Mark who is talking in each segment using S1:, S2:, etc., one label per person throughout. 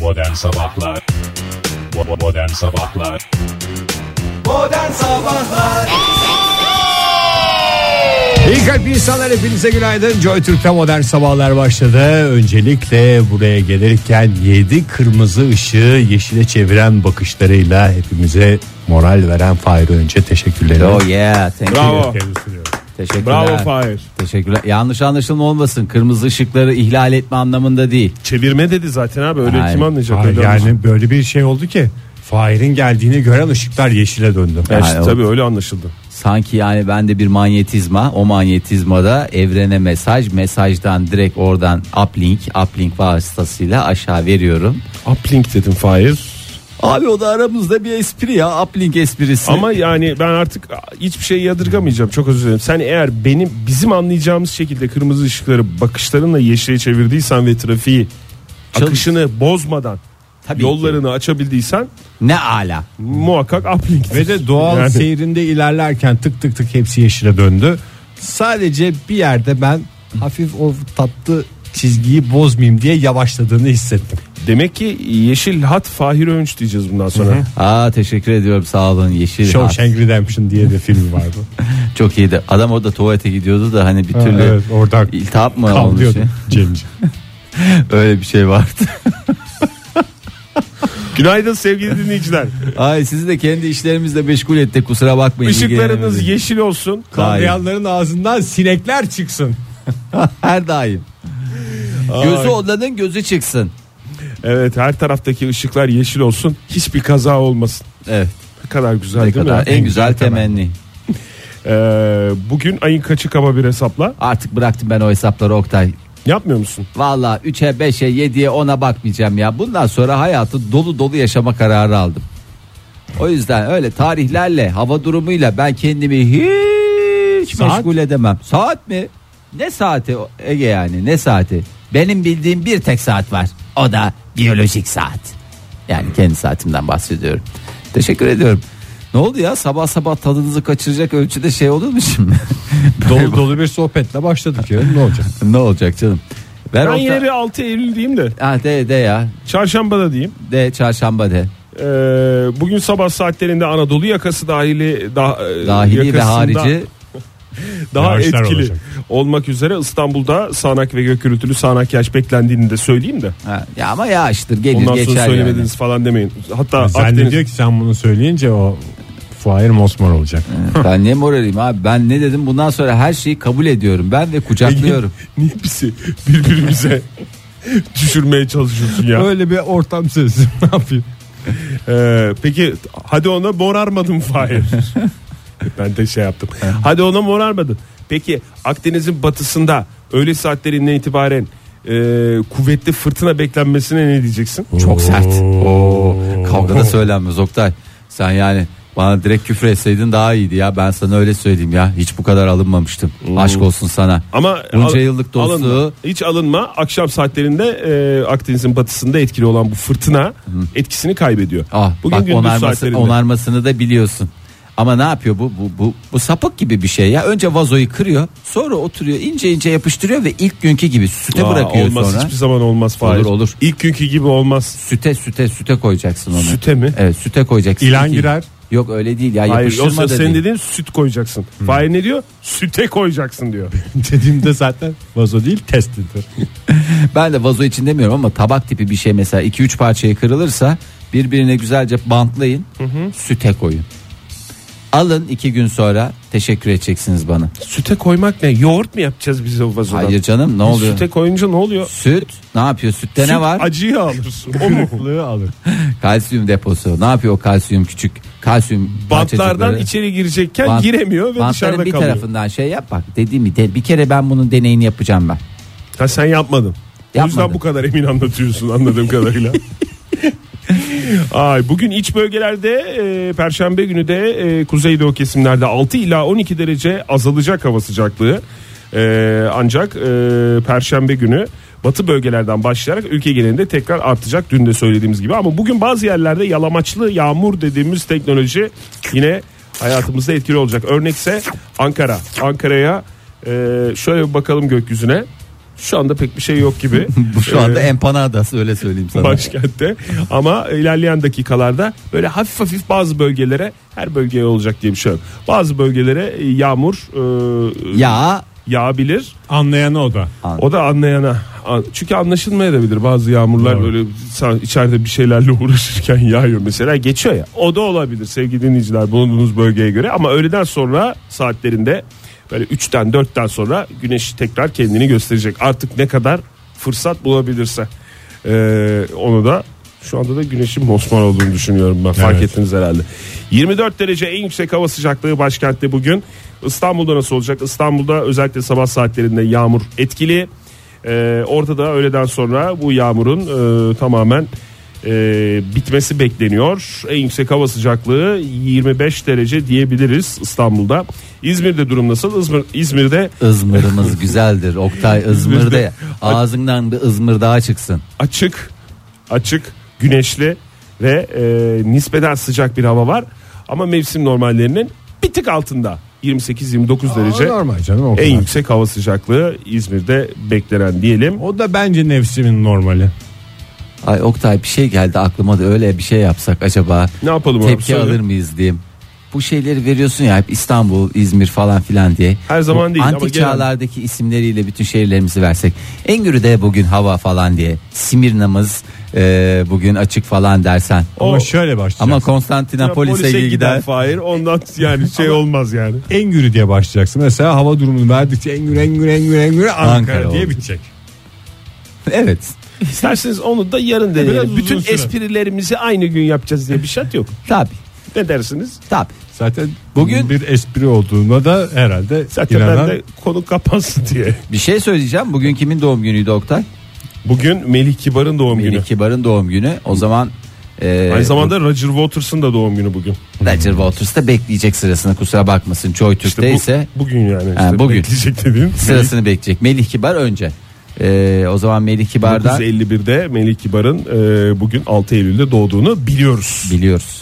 S1: Modern Sabahlar Bo- Modern Sabahlar
S2: Modern Sabahlar
S3: İyi kalp insanlar hepinize günaydın. Joy Türk'te modern sabahlar başladı. Öncelikle buraya gelirken 7 kırmızı ışığı yeşile çeviren bakışlarıyla hepimize moral veren Fahir önce teşekkürlerimi
S4: Oh yeah. Thank you.
S5: Bravo.
S4: Teşekkürler.
S5: Bravo Fahir.
S4: Teşekkürler. Yanlış anlaşılma olmasın. Kırmızı ışıkları ihlal etme anlamında değil.
S5: Çevirme dedi zaten abi öyle
S4: Ay.
S5: kim anlayacak
S3: Ay,
S5: öyle anlaşıldı.
S3: yani böyle bir şey oldu ki Fahir'in geldiğini gören ışıklar yeşile döndü.
S5: Yani
S4: Ay,
S5: E, işte
S4: o-
S5: tabii öyle anlaşıldı.
S4: Sanki yani bende bir manyetizma. O manyetizmada evrene mesaj. Mesajdan direkt oradan uplink. Uplink vasıtasıyla aşağı veriyorum.
S5: Uplink dedim Fahir.
S4: Abi o da aramızda bir espri ya. Uplink esprisi.
S5: Ama yani ben artık hiçbir şey yadırgamayacağım. Çok özür dilerim. Sen eğer benim bizim anlayacağımız şekilde kırmızı ışıkları bakışlarınla yeşile çevirdiysen ve trafiği
S4: Çal-
S5: akışını bozmadan
S4: Tabii ki.
S5: yollarını açabildiysen
S4: Ne ala.
S5: muhakkak uplink.
S3: Ve de doğal şey-
S5: Yani-
S3: seyrinde ilerlerken tık tık tık hepsi yeşile döndü. Sadece bir yerde ben hafif o tatlı çizgiyi bozmayayım diye yavaşladığını hissettim.
S5: Demek ki yeşil hat Fahir Önç diyeceğiz bundan sonra.
S4: Aa teşekkür ediyorum sağ olun yeşil. hat.
S5: şey.
S3: Shawshank Redemption diye de filmi vardı.
S4: Çok iyiydi. Adam orada tuvalete gidiyordu da hani bir türlü
S3: evet, oradan
S4: iltihap mı
S3: Kal
S4: olmuş?
S3: diyordum Cemciğim.
S4: Öyle bir şey vardı.
S5: Günaydın sevgili dinleyiciler.
S4: Ay sizi de kendi işlerimizle meşgul ettik kusura bakmayın.
S5: Işıklarınız
S4: İlgilenemedik.
S5: yeşil olsun.
S3: Kavrayanların ağzından sinekler çıksın.
S4: Her daim. Gözü odanın gözü çıksın.
S5: Evet her taraftaki ışıklar yeşil olsun. Hiçbir kaza olmasın.
S4: Evet.
S5: Ne kadar güzel
S4: Ne
S5: değil
S4: kadar
S5: mi?
S4: en güzel temenni.
S5: Ee, bugün ayın kaçı kaba bir hesapla.
S4: Artık bıraktım ben o hesapları Oktay.
S5: Yapmıyor musun?
S4: Valla 3'e 5'e 7'ye 10'a bakmayacağım ya. Bundan sonra hayatı dolu dolu yaşama kararı aldım. O yüzden öyle tarihlerle hava durumuyla ben kendimi hiç
S3: Saat?
S4: meşgul edemem. Saat mi? Ne saati o- Ege yani ne saati? Benim bildiğim bir tek saat var. O da biyolojik saat. Yani kendi saatimden bahsediyorum. Teşekkür ediyorum. Ne oldu ya sabah sabah tadınızı kaçıracak ölçüde şey olur mu şimdi?
S3: Dolu dolu bir sohbetle başladık ya ne olacak?
S4: ne olacak canım? Ver
S5: Ben
S4: orta-
S5: yine bir 6 Eylül diyeyim de.
S4: Ha, de, de ya
S5: Çarşamba da diyeyim.
S4: de çarşamba de.
S5: Ee, bugün sabah saatlerinde Anadolu yakası dahili da, e,
S4: Dahili ve
S5: yakasında
S4: harici
S5: daha
S3: Yağışlar
S5: etkili
S3: olacak.
S5: olmak üzere İstanbul'da sağanak ve gök gürültülü sağanak yağış beklendiğini de söyleyeyim de.
S4: ha, ya ama yağıştır gelir
S5: Ondan sonra
S4: geçer yani.
S5: söylemediniz falan demeyin. Hatta
S3: Zannediyor
S5: Akdeniz
S3: ki sen bunu söyleyince o Fahir Mosmor olacak.
S4: Ben ne moraliyim abi ben ne dedim bundan sonra her şeyi kabul ediyorum ben ve kucaklıyorum.
S5: niye bizi birbirimize düşürmeye çalışıyorsun ya?
S3: Öyle bir ortam sözü ne yapayım?
S5: Ee, peki hadi ona morarmadın Fahir. ben de şey yaptım. hadi ona morarmadın. Peki Akdeniz'in batısında öğle saatlerinden itibaren e, kuvvetli fırtına beklenmesine ne diyeceksin?
S4: Çok sert. Oo, kavga da söylenmez Oktay. Sen yani bana direkt küfür etseydin daha iyiydi ya ben sana öyle söyleyeyim ya hiç bu kadar alınmamıştım. Aşk olsun sana.
S5: Ama
S4: Bunca
S5: al-
S4: yıllık dostluğu-
S5: alınma. hiç alınma. Akşam saatlerinde e, Akdeniz'in batısında etkili olan bu fırtına etkisini kaybediyor.
S4: Ah,
S5: Bugün
S4: bak
S5: gündüz
S4: onarması,
S5: saatlerinde.
S4: onarmasını da biliyorsun. Ama ne yapıyor bu? Bu, bu? bu sapık gibi bir şey ya. Önce vazoyu kırıyor sonra oturuyor ince ince yapıştırıyor ve ilk günkü gibi süte
S5: Aa,
S4: bırakıyor
S5: olmaz
S4: sonra.
S5: hiçbir zaman olmaz Fahir.
S4: Olur, olur.
S5: İlk günkü gibi olmaz.
S4: Süte süte süte koyacaksın onu.
S5: Süte mi?
S4: Evet süte koyacaksın.
S3: İlan
S4: Değil.
S3: girer.
S4: Yok öyle değil ya
S5: Hayır,
S4: yapıştırma
S5: yoksa
S4: da
S5: senin
S4: değil.
S5: dediğin Hmm. süt koyacaksın. Fahir ne diyor? Süte koyacaksın diyor.
S3: Dediğimde zaten vazo değil testidir.
S4: Ben de vazo için demiyorum ama tabak tipi bir şey mesela 2-3 parçaya kırılırsa birbirine güzelce bantlayın süte koyun. Alın iki gün sonra teşekkür edeceksiniz bana.
S5: Süte koymak ne? Yoğurt mu yapacağız biz o vazodan?
S4: Hayır canım ne
S5: Biz
S4: oluyor?
S5: Süte koyunca ne oluyor?
S4: Süt ne yapıyor? Sütte
S5: Süt
S4: ne var?
S5: Acıyı alır. O mu?
S3: Kırıklığı alır.
S4: kalsiyum deposu. Ne yapıyor o kalsiyum küçük? Kalsiyum
S5: Bantlardan
S4: parçacıkları.
S5: içeri girecekken
S4: Bant-
S5: giremiyor ve
S4: Bantların
S5: dışarıda
S4: bir
S5: kalıyor.
S4: tarafından şey yap bak dediğim gibi de- bir kere ben bunun deneyini yapacağım ben.
S5: Ha, sen yapmadın. O
S4: Yapmadım.
S5: yüzden bu kadar emin anlatıyorsun anladığım kadarıyla. Ay bugün iç bölgelerde e, perşembe günü de e, kuzeydoğu kesimlerde 6 ila 12 derece azalacak hava sıcaklığı. E, ancak e, perşembe günü batı bölgelerden başlayarak ülke genelinde tekrar artacak dün de söylediğimiz gibi ama bugün bazı yerlerde yalamaçlı yağmur dediğimiz teknoloji yine hayatımızda etkili olacak. Örnekse Ankara. Ankara'ya e, şöyle bir bakalım gökyüzüne. Şu anda pek bir şey yok gibi.
S4: Şu anda
S5: Ee,
S4: empanadas öyle söyleyeyim sana.
S5: başkentte ama ilerleyen dakikalarda böyle hafif hafif bazı bölgelere her bölgeye olacak diye bir şey yok. Bazı bölgelere yağmur e,
S4: Ya
S5: yağabilir.
S3: Anlayan o da.
S5: O da anlayana. An- Çünkü anlaşılmayabilir bazı yağmurlar
S3: Doğru.
S5: böyle sen içeride bir şeylerle uğraşırken yağıyor mesela geçiyor ya. O da olabilir sevgili dinleyiciler bulunduğunuz bölgeye göre ama öğleden sonra saatlerinde böyle 3'ten 4'ten sonra güneş tekrar kendini gösterecek. Artık ne kadar fırsat bulabilirse Ee, onu da şu anda da güneşin mosmor olduğunu düşünüyorum ben fark
S3: Evet.
S5: ettiniz herhalde. 24 derece en yüksek hava sıcaklığı başkentte bugün. İstanbul'da nasıl olacak? İstanbul'da özellikle sabah saatlerinde yağmur etkili. Ee, ortada öğleden sonra bu yağmurun e, tamamen e, bitmesi bekleniyor. En yüksek hava sıcaklığı 25 derece diyebiliriz İstanbul'da. İzmir'de durum nasıl? İzmir, İzmir'de
S4: Izmır'ımız güzeldir. Oktay Izmir'de
S5: İzmir'de-
S4: ağzından bir Izmır daha çıksın.
S5: açık, açık, güneşli ve e, nispeten sıcak bir hava var. Ama mevsim normallerinin bir tık altında. 28-29 derece.
S3: normal canım o kadar.
S5: En yüksek hava sıcaklığı İzmir'de beklenen diyelim.
S3: O da bence nefsimin normali.
S4: Ay Oktay bir şey geldi aklıma da öyle bir şey yapsak acaba
S5: Ne yapalım abi?
S4: tepki
S5: Söyle.
S4: alır mıyız diyeyim. Bu şeyleri veriyorsun ya hep İstanbul, İzmir falan filan diye.
S5: Her zaman
S4: Bu
S5: değil ama
S4: Antik
S5: genel-
S4: çağlardaki isimleriyle bütün şehirlerimizi versek. Engürü de bugün hava falan diye. Simirna'mız e, bugün açık falan dersen.
S5: O-
S3: Ama şöyle başlayacaksın.
S4: Ama
S5: Ya,
S4: Konstantinopolis'e gider.
S5: Fahir ondan yani şey olmaz yani.
S3: Engürü diye başlayacaksın. Mesela hava durumunu verdikçe Engür Engür Engür Engür Ankara,
S4: Ankara
S3: diye
S4: oldu.
S3: bitecek.
S4: Evet.
S5: İsterseniz onu da yarın
S3: biraz
S5: deneyelim.
S3: uzun
S5: Bütün
S3: süre.
S5: esprilerimizi aynı gün yapacağız diye bir şart yok.
S4: Tabii.
S5: Ne dersiniz?
S4: Tabii.
S3: Zaten
S4: Bugün-
S3: bugün bir espri olduğuna da herhalde
S5: Zaten
S3: inanan-
S5: ben de konu kapansın diye.
S4: Bir şey söyleyeceğim. Bugün kimin doğum günüydü Oktay?
S5: Bugün Melih Kibar'ın doğum
S4: Melih
S5: günü.
S4: Kibar'ın doğum günü. O zaman e,
S5: Aynı zamanda Roger Waters'ın da doğum günü bugün.
S4: Roger Waters da bekleyecek sırasını kusura bakmasın. Joy Türk'te
S5: İşte bu-
S4: ise
S5: bugün yani.
S4: Ha,
S5: işte
S4: bugün.
S5: Bekleyecek dediğim.
S4: sırasını bekleyecek. Melih Kibar önce. E, o zaman Melih Kibar'dan
S5: 1951'de Melih Kibar'ın e, bugün 6 Eylül'de doğduğunu biliyoruz.
S4: biliyoruz.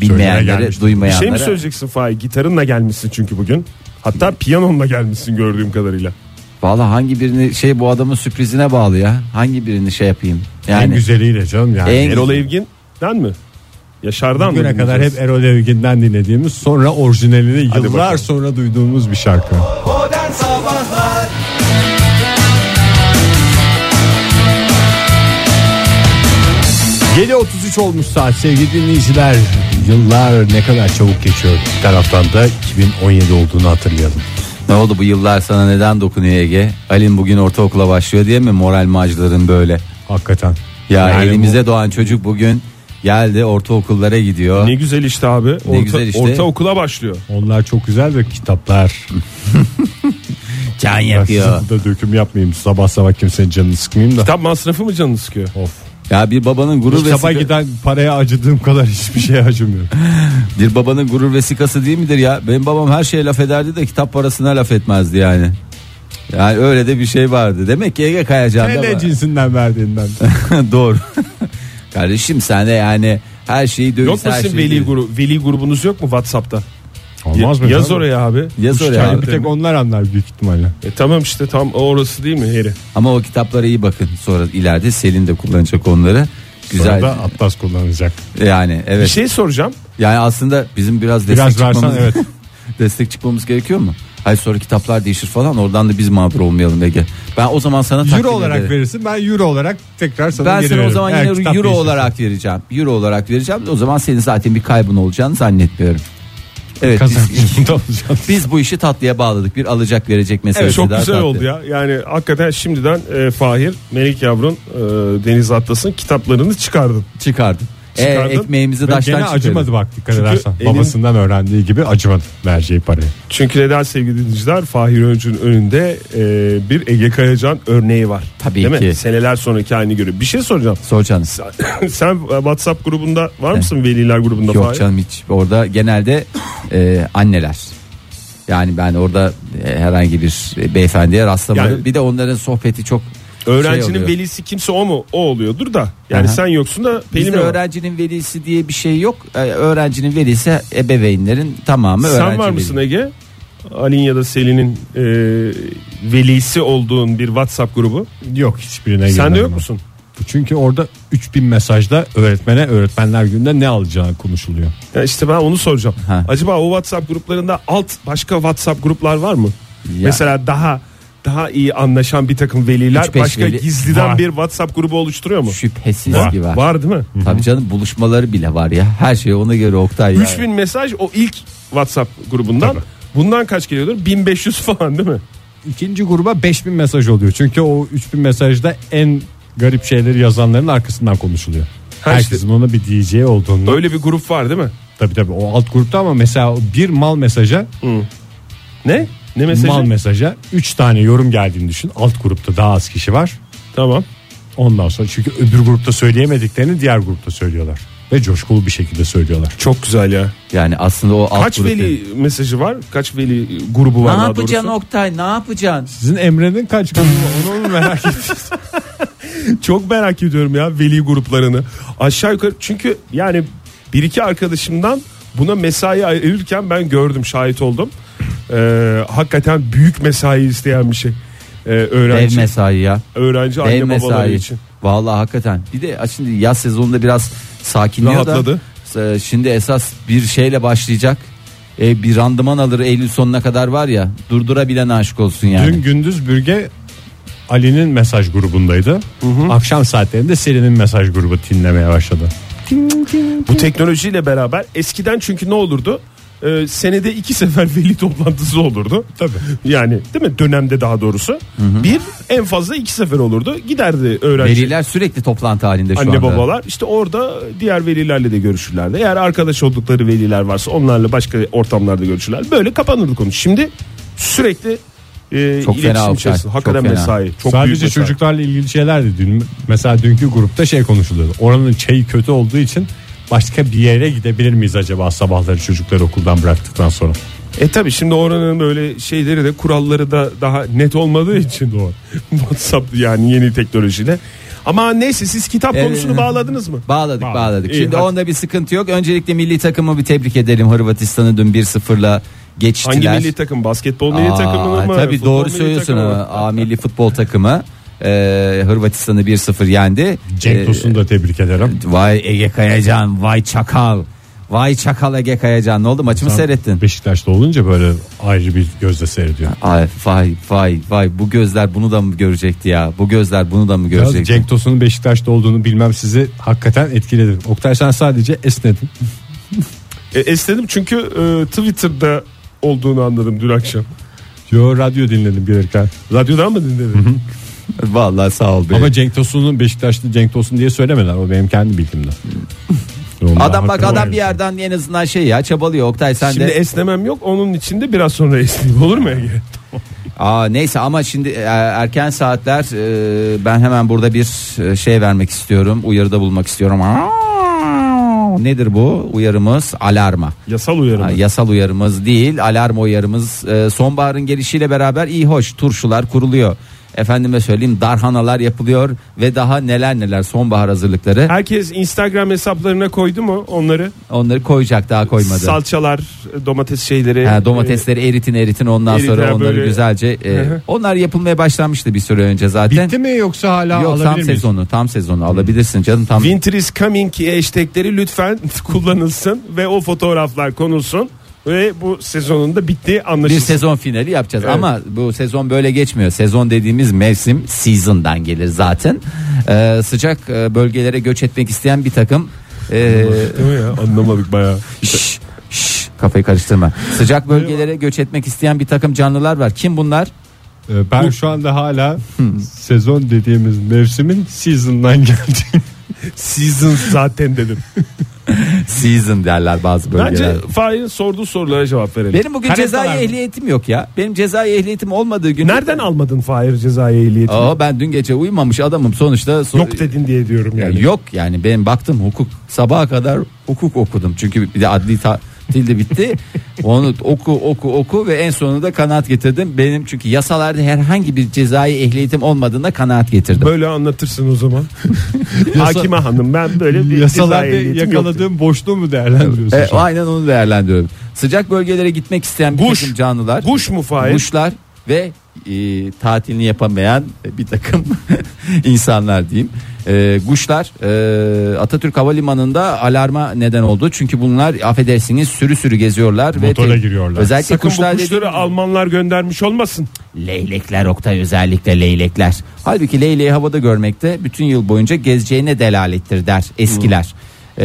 S5: Söylemeye
S4: Bilmeyenleri,
S5: gelmiştim.
S4: duymayanlara.
S5: Bir şey mi söyleyeceksin Fahir? Gitarınla gelmişsin çünkü bugün. Hatta piyanonla gelmişsin gördüğüm kadarıyla.
S4: Valla hangi birini şey bu adamın sürprizine bağlı ya. Hangi birini şey yapayım. Yani
S3: en güzeliyle canım yani.
S4: En-
S5: Erol Evgin'den mi? Yaşar'dan mı?
S3: Bugüne kadar hep
S5: dinleyeceğiz?
S3: Erol Evgin'den dinlediğimiz sonra orijinalini
S5: Hadi
S3: yıllar
S5: bakalım.
S3: sonra duyduğumuz bir şarkı.
S2: Modern Sabahlar
S3: Gece 33 olmuş saat sevgili dinleyiciler. Yıllar ne kadar çabuk geçiyor. Bir taraftan da 2017 olduğunu hatırlayalım.
S4: ne oldu bu yıllar sana neden dokunuyor Ege? Alin bugün ortaokula başlıyor diye mi moral macların böyle?
S3: Hakikaten.
S4: Ya
S3: Yani
S4: elimize doğan çocuk bugün geldi ortaokullara gidiyor.
S5: Ne güzel işte abi. Orta,
S4: güzel işte.
S5: Ortaokula başlıyor.
S3: bu- onlar çok güzel de kitaplar.
S4: Can
S3: Ben sizi de döküm yapmayayım. Sabah sabah kimsenin canını sıkmayayım da.
S5: Kitap masrafı mı canını sıkıyor?
S3: Of.
S4: Ya bir babanın gurur
S3: Kitaba
S4: vesikası
S3: giden paraya acıdığım kadar hiçbir şeye acımıyor.
S4: bir babanın gurur vesikası değil midir ya? Benim babam her şeye laf ederdi de kitap parasına laf etmezdi yani. Yani öyle de bir şey vardı. Demek ki Ege Kayacan da
S3: Ne
S4: var.
S3: cinsinden verdiğinden.
S4: Doğru. Kardeşim sen de yani her şeyi döviz
S5: Yok mu
S4: her şey
S5: sizin
S4: şeyi
S5: veli,
S4: döviz.
S5: grubu, veli grubunuz yok mu Whatsapp'ta?
S3: Olmaz mı?
S5: Yaz
S3: canım?
S5: oraya abi.
S4: Yaz
S5: Üç
S4: oraya
S5: tane
S4: abi.
S3: Bir tek onlar anlar büyük ihtimalle.
S5: E tamam işte tam orası değil mi Heri?
S4: Ama o kitaplara iyi bakın. Sonra ileride Selin de kullanacak onları. Güzel.
S3: Sonra da Atlas kullanacak.
S4: Yani
S5: Bir
S4: evet.
S5: şey soracağım.
S4: Yani aslında bizim biraz destek
S3: Biraz
S4: çıkmamız
S3: versen evet.
S4: destek çıkmamız gerekiyor mu? Hayır sonra kitaplar değişir falan oradan da biz mağdur olmayalım Ege. Ben o zaman sana takdim
S3: Euro olarak
S4: ederim.
S3: verirsin ben euro olarak tekrar sana
S4: Ben
S3: geri
S4: sana o
S3: veririm.
S4: zaman
S3: Eğer
S4: yine euro
S3: kitap değişirse.
S4: olarak vereceğim. Euro olarak vereceğim. O zaman senin zaten bir kaybın olacağını zannetmiyorum. Evet biz,
S3: Kazanmışım da olacağım.
S4: biz bu işi tatlıya bağladık. Bir alacak verecek meselesi.
S5: Evet, çok
S4: daha
S5: güzel
S4: tatlı.
S5: oldu ya. Yani hakikaten şimdiden e, Fahir, Melik Yavrun, e, Deniz Atlas'ın kitaplarını çıkardın.
S4: Çıkardın. E,
S5: Çıkardım.
S4: ekmeğimizi
S3: Ve
S4: taştan
S3: gene
S4: çıkardık.
S3: acımadı bak dikkat
S5: Çünkü
S3: edersen.
S5: elin-
S3: Babasından öğrendiği gibi acımadı vereceği parayı.
S5: Çünkü neden sevgili dinleyiciler Fahir Öncü'nün önünde e, bir Ege Kayacan örneği var.
S4: Tabii
S5: Değil
S4: ki.
S5: Mi? Seneler sonraki halini görüyor. Bir şey soracağım.
S4: Sor canım.
S5: Sen- Sen e, WhatsApp grubunda var mısın veliler grubunda
S4: Yok
S5: Fahir?
S4: canım hiç. Orada genelde e, anneler. Yani ben orada e, herhangi bir e, beyefendiye rastlamadım.
S5: Yani-
S4: bir de onların sohbeti çok şey
S5: Öğrencinin
S4: oluyor.
S5: velisi kimse o mu? O oluyordur da. Yani
S4: Aha.
S5: sen yoksun da Pelin
S4: Bizde
S5: var.
S4: öğrencinin velisi diye bir şey yok. Ee, öğrencinin velisi E, ebeveynlerin tamamı öğrenci.
S5: Sen var mısın
S4: veli.
S5: Ege? Ali'nin ya da Selin'in e, velisi olduğun bir WhatsApp grubu.
S3: Yok hiçbirine
S5: Sen de
S3: girmedim
S5: yok
S3: ben.
S5: musun?
S3: Çünkü orada 3000 mesajda öğretmene öğretmenler gününde ne alacağı konuşuluyor.
S5: Ya işte ben onu soracağım.
S4: Ha.
S5: Acaba o WhatsApp gruplarında alt başka WhatsApp gruplar var mı? Mesela daha daha iyi anlaşan bir takım veliler
S4: Üç beş
S5: başka
S4: veli-
S5: gizliden
S4: Var.
S5: bir WhatsApp grubu oluşturuyor mu?
S4: Şüphesiz ki var.
S5: Var değil mi?
S4: Tabii canım buluşmaları bile var ya. Her şey ona göre Oktay ya.
S5: 3000 mesaj o ilk WhatsApp grubundan. Bundan kaç geliyordur? 1500 falan değil mi?
S3: İkinci gruba 5000 mesaj oluyor. Çünkü o 3000 mesajda en garip şeyleri yazanların arkasından konuşuluyor.
S5: Ha
S3: Herkesin ona bir diyeceği olduğunu.
S5: Öyle bir grup var değil mi?
S3: Tabii tabii o alt grupta ama mesela o bir mal mesaja,
S5: Ne? Ne mesajı?
S3: mal mesaja 3 tane yorum geldiğini düşün. Alt grupta daha az kişi var.
S5: Tamam.
S3: Ondan sonra çünkü öbür grupta söyleyemediklerini diğer grupta söylüyorlar. Ve coşkulu bir şekilde söylüyorlar.
S5: Çok güzel ya.
S4: Yani aslında o alt
S5: Kaç
S4: grup-
S5: veli mesajı var? Kaç veli grubu
S4: Ne
S5: var? daha
S4: yapacaksın
S5: doğrusu?
S4: Oktay ne yapacaksın?
S3: Sizin Emre'nin kaç grubu var? onu merak ettim.
S5: Çok merak ediyorum ya veli gruplarını. Aşağı yukarı çünkü yani bir iki arkadaşımdan buna mesai ayırırken ben gördüm şahit oldum. Ee, hakikaten büyük mesai isteyen bir şey. Ee,
S4: Dev
S5: öğrenci
S4: mesai ya.
S5: öğrenci
S4: Dev
S5: anne babaları
S4: mesai.
S5: için.
S4: Vallahi hakikaten. Bir de ha, şimdi yaz sezonunda biraz sakinliyor
S5: Rahatladı.
S4: da. e, Şimdi esas bir şeyle başlayacak. E, bir randıman alır Eylül sonuna kadar var ya. Durdurabilen aşık olsun yani.
S3: Dün gündüz bürge Ali'nin mesaj grubundaydı. Akşam saatlerinde Selin'in mesaj grubu dinlemeye başladı.
S5: Bu teknolojiyle beraber eskiden çünkü ne olurdu? Ee, senede iki sefer veli toplantısı olurdu. Tabii. Yani değil mi? Dönemde daha doğrusu. Bir en fazla iki sefer olurdu. Giderdi öğrenci.
S4: Veliler sürekli toplantı halinde şu
S5: Anne
S4: anda.
S5: babalar işte orada diğer velilerle de görüşürlerdi. Eğer arkadaş oldukları veliler varsa onlarla başka ortamlarda görüşürler. Böyle kapanırdı konu. Şimdi sürekli e,
S4: Çok fena
S5: iletişim
S4: Oktay.
S5: içerisinde.
S4: Çok
S5: Hakikaten
S4: fena.
S5: mesai. Çok büyük
S3: Sadece
S5: mesai.
S3: çocuklarla ilgili şeylerdi dün. Mesela dünkü grupta şey konuşuluyordu. Oranın çayı kötü olduğu için başka bir yere gidebilir miyiz acaba sabahları çocukları okuldan bıraktıktan sonra?
S5: E tabi şimdi oranın böyle şeyleri de kuralları da daha net olmadığı için doğru. WhatsApp yani yeni teknolojide. Ama neyse siz kitap
S4: Evet.
S5: konusunu bağladınız mı?
S4: Bağladık
S5: Bağladık.
S4: bağladık.
S5: İyi,
S4: Şimdi
S5: hadi.
S4: onda bir sıkıntı yok. Öncelikle milli takımı bir tebrik edelim. Hırvatistan'ı dün 1-0'la geçtiler.
S5: Hangi milli takım? Basketbol milli
S4: Aa,
S5: takımı mı?
S4: Tabii
S5: Futbol
S4: doğru
S5: milli
S4: söylüyorsun.
S5: takımı mı?
S4: A milli futbol takımı e, Hırvatistan'ı 1-0 yendi.
S3: Cenk
S4: E,
S3: Tosun'u da tebrik ederim.
S4: vay Ege Kayacan, vay çakal. Vay çakal Ege Kayacan. Ne oldu maçımı e, seyrettin?
S3: Beşiktaş'ta olunca böyle ayrı bir gözle seyrediyor.
S4: Ay, vay vay vay bu gözler bunu da mı görecekti ya? Bu gözler bunu da mı
S3: Biraz
S4: görecekti?
S3: Cenk Tosun'un Beşiktaş'ta olduğunu bilmem sizi hakikaten etkiledi. Oktay sen sadece esnedin.
S5: E, esnedim çünkü e, Twitter'da olduğunu anladım dün akşam.
S3: Yo radyo dinledim gelirken.
S5: Radyodan mı dinledin?
S4: Vallahi sağ ol be.
S3: Ama Cenk Tosun'un Beşiktaşlı Cenk Tosun diye söylemediler. O benim kendi bildiğimde.
S4: Adam bak adam bir yerden en azından şey ya çabalıyor Oktay sen
S5: Şimdi
S4: de.
S5: esnemem yok. Onun için de biraz sonra esneyim. Olur mu Ege?
S4: Aa, neyse ama şimdi e, erken saatler e, ben hemen burada bir e, şey vermek istiyorum uyarıda bulmak istiyorum. Aa, Nedir bu uyarımız alarma.
S5: Yasal uyarı
S4: Ha,
S5: mı?
S4: yasal uyarımız değil alarm uyarımız E, sonbaharın gelişiyle beraber iyi hoş turşular kuruluyor. Efendime söyleyeyim darhanalar yapılıyor ve daha neler neler sonbahar hazırlıkları
S5: Herkes Instagram hesaplarına koydu mu onları?
S4: onları koyacak daha koymadı.
S5: Salçalar, e, domates şeyleri. e,
S4: Ha, domatesleri eritin eritin ondan
S5: Eritin,
S4: sonra
S5: ha,
S4: onları
S5: böyle-
S4: güzelce e,
S5: Hı hı.
S4: onlar yapılmaya başlanmıştı bir süre önce zaten.
S3: Bitti mi yoksa hala
S4: Yok tam
S3: alabilir miyiz?
S4: sezonu tam sezonu alabilirsin canım tam.
S5: E, Winter is coming hashtagleri lütfen kullanılsın ve o fotoğraflar konulsun. Ve bu sezonun da bittiği
S4: bir
S5: anlaşılsın.
S4: sezon finali yapacağız
S5: Evet.
S4: ama bu sezon böyle geçmiyor. Sezon dediğimiz mevsim season'dan gelir zaten. Ee, sıcak e, bölgelere göç etmek isteyen bir takım e,
S5: Değil mi ya? Anlamadık bayağı.
S4: şş, şş, kafayı karıştırma. Sıcak bölgelere göç etmek isteyen bir takım canlılar var. Kim bunlar?
S3: Ee, Ben şu anda hala sezon dediğimiz mevsimin season'dan geldi.
S5: Season zaten dedim.
S4: Season derler bazı bölgelere.
S5: Bence Fahir'in sorduğu sorulara cevap verelim.
S4: benim bugün
S3: Karentalar
S4: cezai
S3: mı?
S4: ehliyetim yok ya. Benim cezai ehliyetim olmadığı gün.
S5: Nereden almadın Fahir cezai ehliyetini?
S4: Aa, ben dün gece uyumamış adamım sonuçta. so-
S5: Yok dedin diye diyorum
S4: Ya
S5: yani.
S4: Yok yani ben baktım hukuk sabaha kadar hukuk okudum çünkü bir de adli ta- Tilde bitti. Onu oku oku oku ve en sonunda kanaat getirdim. Benim çünkü yasalarda herhangi bir cezai ehliyetim olmadığına kanaat getirdim.
S5: Böyle anlatırsın o zaman. Hakime hanım ben böyle bir cezai
S3: Yasalarda
S5: ehliyetim
S3: yakaladığım
S5: yoktu.
S3: boşluğu mu değerlendiriyorsun?
S4: E,
S3: şu an?
S4: aynen onu değerlendiriyorum. Sıcak bölgelere gitmek isteyen bir
S5: Kuş.
S4: takım canlılar.
S5: Kuş mu Fahir?
S4: Kuşlar ve e, tatilini yapamayan bir takım insanlar diyeyim. E, kuşlar e, Atatürk Havalimanı'nda alarma neden oldu. Çünkü bunlar affedersiniz sürü sürü geziyorlar.
S3: Motora
S4: ve te-
S3: giriyorlar.
S4: Özellikle
S5: Sakın
S4: kuşlar
S5: bu
S4: dediğim-
S5: kuşları Almanlar göndermiş olmasın.
S4: Leylekler Oktay özellikle leylekler. Halbuki leyleği havada görmekte bütün yıl boyunca gezeceğine delalettir der eskiler. Ee,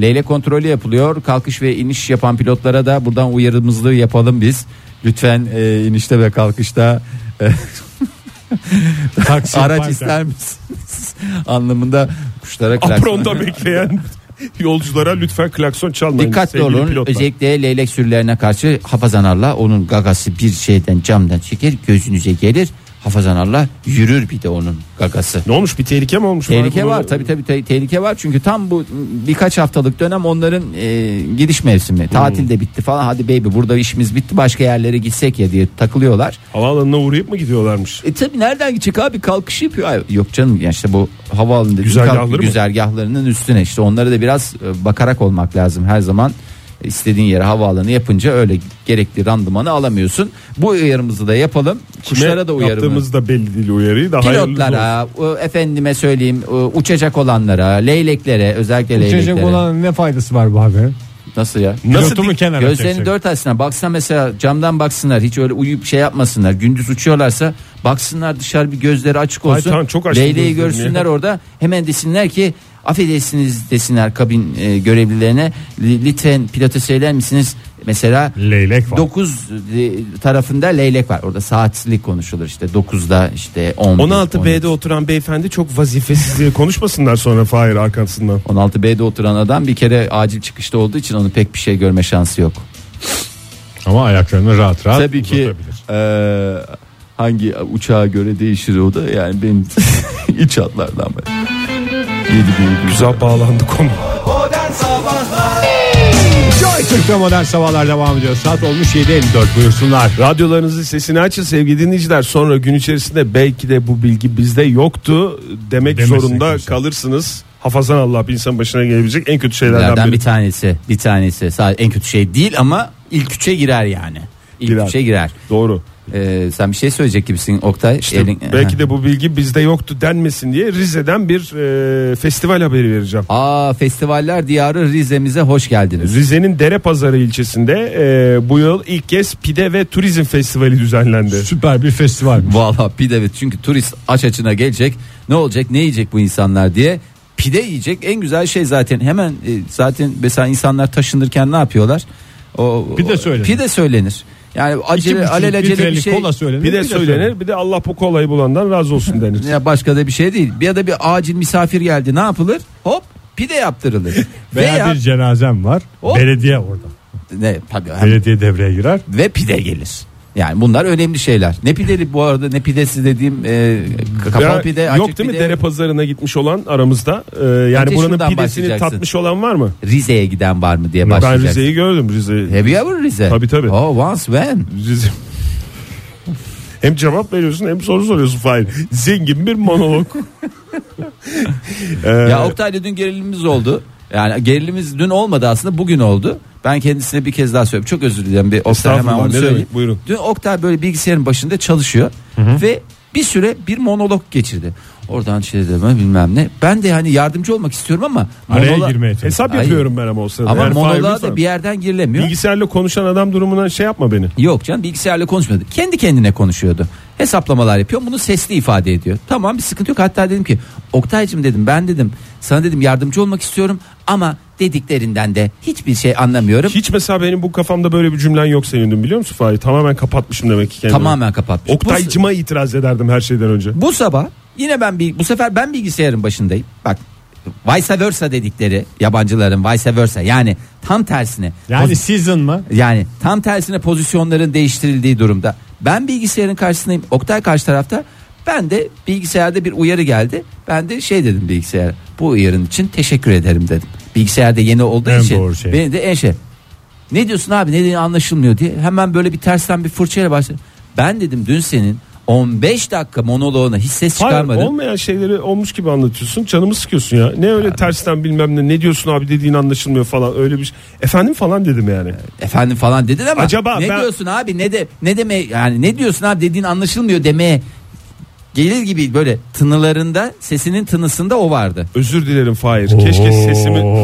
S4: leylek kontrolü yapılıyor. Kalkış ve iniş yapan pilotlara da buradan uyarımızlığı yapalım biz. Lütfen e, inişte ve kalkışta e,
S3: Taksim
S4: araç
S3: Park'ta.
S4: ister misiniz? anlamında kuşlara
S5: Apronda bekleyen yolculara lütfen klakson çalmayın.
S4: Dikkatli
S5: sevgili
S4: olun.
S5: pilotlar.
S4: Özellikle leylek sürülerine karşı Hafazan Allah onun gagası bir şeyden camdan çeker gözünüze gelir. Hafazan Allah yürür bir de onun gagası.
S5: Ne olmuş bir tehlike mi olmuş?
S4: Tehlike
S5: Bunu-
S4: var tabi tabi tehlike var çünkü tam bu birkaç haftalık dönem onların e, gidiş mevsimi
S5: Hmm.
S4: tatil de bitti falan hadi baby burada işimiz bitti başka yerlere gitsek ya diye takılıyorlar.
S5: Havaalanına uğrayıp mı gidiyorlarmış?
S4: E tabi nereden gidecek abi kalkış yapıyor. Ay, yok canım ya işte bu havaalanı dediğim
S5: Güzergahları
S4: kalk-
S5: mı?
S4: güzergahlarının üstüne işte onlara da biraz e, bakarak olmak lazım her zaman. E, istediğin yere havaalanı yapınca öyle gerekli randımanı alamıyorsun. Bu uyarımızı da yapalım. Kuşlara da uyarımız.
S5: Yaptığımız da belli değil uyarıyı. Daha hayırlısı
S4: Pilotlara, e, efendime söyleyeyim e, uçacak olanlara, leyleklere özellikle
S3: Uçacak
S4: leyleklere.
S3: olan ne faydası var bu haberin?
S4: Nasıl ya?
S5: olsun. Nasıl
S3: Pilotu mu kenara
S4: Gözlerini
S3: çekecek?
S4: dört açsınlar. Baksana mesela camdan baksınlar. Hiç öyle uyuyup şey yapmasınlar. Gündüz uçuyorlarsa baksınlar dışarı bir gözleri açık
S5: Ay
S4: olsun.
S5: tamam, çok açtım
S4: Leyleği
S5: gözlerimi
S4: görsünler
S5: ya.
S4: orada. Hemen desinler ki affedersiniz desinler kabin e, görevlilerine. Li- Lütfen pilota söyler misiniz? Mesela
S3: Leylek var.
S4: 9 tarafında leylek var. Orada saatlik konuşulur işte 9'da işte 10.
S5: 16B'de oturan beyefendi çok vazifesiz diye konuşmasınlar sonra Fahir arkasından.
S4: 16B'de oturan adam bir kere acil çıkışta olduğu için onu pek bir şey görme şansı yok.
S3: Ama ayaklarını rahat rahat
S4: Tabii ki
S3: uzatabilir.
S4: eee, hangi uçağa göre değişir o da yani benim iç hatlardan beri.
S5: Güzel bağlandı konu.
S2: Modern Sabahlar
S3: Joy Türk'te modern sabahlar devam ediyor. Saat olmuş 7.54 buyursunlar.
S5: Radyolarınızın sesini açın sevgili dinleyiciler. Sonra gün içerisinde belki de bu bilgi bizde yoktu demek
S3: Demesin
S5: zorunda
S3: kimse.
S5: kalırsınız. Hafazan Allah bir insan başına gelebilecek en kötü şeylerden
S4: Nereden
S5: biri.
S4: bir tanesi bir tanesi sadece en kötü şey değil ama ilk üçe girer yani. İlk
S5: Girer.
S4: üçe girer.
S5: Doğru.
S4: Eee, sen bir şey söyleyecek gibisin Oktay.
S5: İşte belki de bu bilgi bizde yoktu denmesin diye Rize'den bir e, festival haberi vereceğim.
S4: Aa festivaller diyarı Rize'mize hoş geldiniz.
S5: Rize'nin Derepazarı ilçesinde e, bu yıl ilk kez pide ve turizm festivali düzenlendi.
S3: Süper bir festival.
S4: Valla pide ve çünkü turist aç açına gelecek. Ne olacak ne yiyecek bu insanlar diye. Pide yiyecek en güzel şey zaten hemen e, zaten mesela insanlar taşınırken ne yapıyorlar? O,
S3: Pide
S4: o-
S3: söylenir.
S4: Pide söylenir. Yani
S3: İki
S4: acele
S3: buçuk
S4: alelacele bir
S3: litrelik
S4: şey.
S3: kola söylenir.
S5: Bir de
S3: bir
S5: söylenir bir de Allah bu kolayı bulandan razı olsun denir.
S4: Ya başka da bir şey değil. Bir ya da bir acil misafir geldi ne yapılır? Hop pide yaptırılır.
S3: Veya
S4: Veya
S3: bir cenazem var.
S4: Hop.
S3: Belediye orada.
S4: ne tabii hem-
S3: Belediye devreye girer.
S4: ve pide gelir. Yani bunlar önemli şeyler. Ne pideli bu arada ne pidesi dediğim e, kapalı
S5: Ya,
S4: pide, açık
S5: yok değil mi
S4: pide.
S5: dere pazarına gitmiş olan aramızda Ee, yani
S4: Önce
S5: buranın
S4: şuradan
S5: pidesini
S4: başlayacaksın.
S5: tatmış olan var mı?
S4: Rize'ye giden var mı diye
S5: Ben
S4: başlayacaksın.
S5: Rize'yi gördüm Rize'yi.
S4: Have you ever Rize?
S5: Tabii, tabii.
S4: Oh once when?
S5: Rize. hem cevap veriyorsun hem soru soruyorsun Fahir. Zengin bir monolog. Ee,
S4: Ya Oktay'la dün gerilimimiz oldu. Yani gerilimimiz dün olmadı aslında bugün oldu. Ben kendisine bir kez daha söyleyeyim. Çok özür dilerim. Bir Oktay hemen
S5: Estağfurullah,
S4: onu
S5: ne
S4: söyleyeyim.
S5: demek, buyurun.
S4: Dün Oktay böyle bilgisayarın başında çalışıyor. Ve bir süre bir monolog geçirdi. Oradan şey deme bilmem ne. Ben de hani yardımcı olmak istiyorum ama
S3: Araya
S4: monolog-
S3: girmeye çalışıyor.
S5: hesap
S4: Hayır.
S5: yapıyorum ben ama o sırada.
S4: Ama
S5: Yani Fahir
S4: monoloğa
S5: lütfen.
S4: da bir yerden girilemiyor.
S5: Bilgisayarla konuşan adam durumuna şey yapma beni.
S4: Yok canım bilgisayarla konuşmuyordu. Kendi kendine konuşuyordu. Hesaplamalar yapıyor. Bunu sesli ifade ediyor. Tamam bir sıkıntı yok. Hatta dedim ki Oktay'cım dedim ben dedim sana dedim yardımcı olmak istiyorum ama dediklerinden de hiçbir şey anlamıyorum.
S5: Hiç mesela benim bu kafamda böyle bir cümlen yok senin dün biliyor musun Fahir? Tamamen kapatmışım demek ki kendimi.
S4: Tamamen kapatmış.
S5: Oktaycıma itiraz ederdim her şeyden önce.
S4: Bu, bu sabah yine ben bir bu sefer ben bilgisayarın başındayım. Bak vice versa dedikleri yabancıların vice versa yani tam tersine.
S3: Yani season mı?
S4: Yani tam tersine pozisyonların değiştirildiği durumda. Ben bilgisayarın karşısındayım. Oktay karşı tarafta. Ben de bilgisayarda bir uyarı geldi. Ben de şey dedim bilgisayara. Bu uyarın için teşekkür ederim dedim. Bilgisayarda yeni olduğu
S3: En
S4: için.
S3: doğru şey.
S4: Beni de en şey. Ne diyorsun abi ne dediğin anlaşılmıyor diye hemen böyle bir tersten bir fırçayla başladı. Ben dedim dün senin 15 dakika monoloğuna hiç ses
S5: Hayır,
S4: çıkarmadın.
S5: olmayan şeyleri olmuş gibi anlatıyorsun. Canımı sıkıyorsun ya. Ne öyle tersten bilmem ne. Ne diyorsun abi dediğin anlaşılmıyor falan. Öyle bir şey. Efendim falan dedim yani.
S4: Efendim falan dedin ama
S5: Acaba
S4: ne
S5: ben-
S4: diyorsun abi ne de ne deme yani ne diyorsun abi dediğin anlaşılmıyor demeye gelir gibi böyle tınılarında sesinin tınısında o vardı.
S5: Özür dilerim Fahir. Keşke sesimin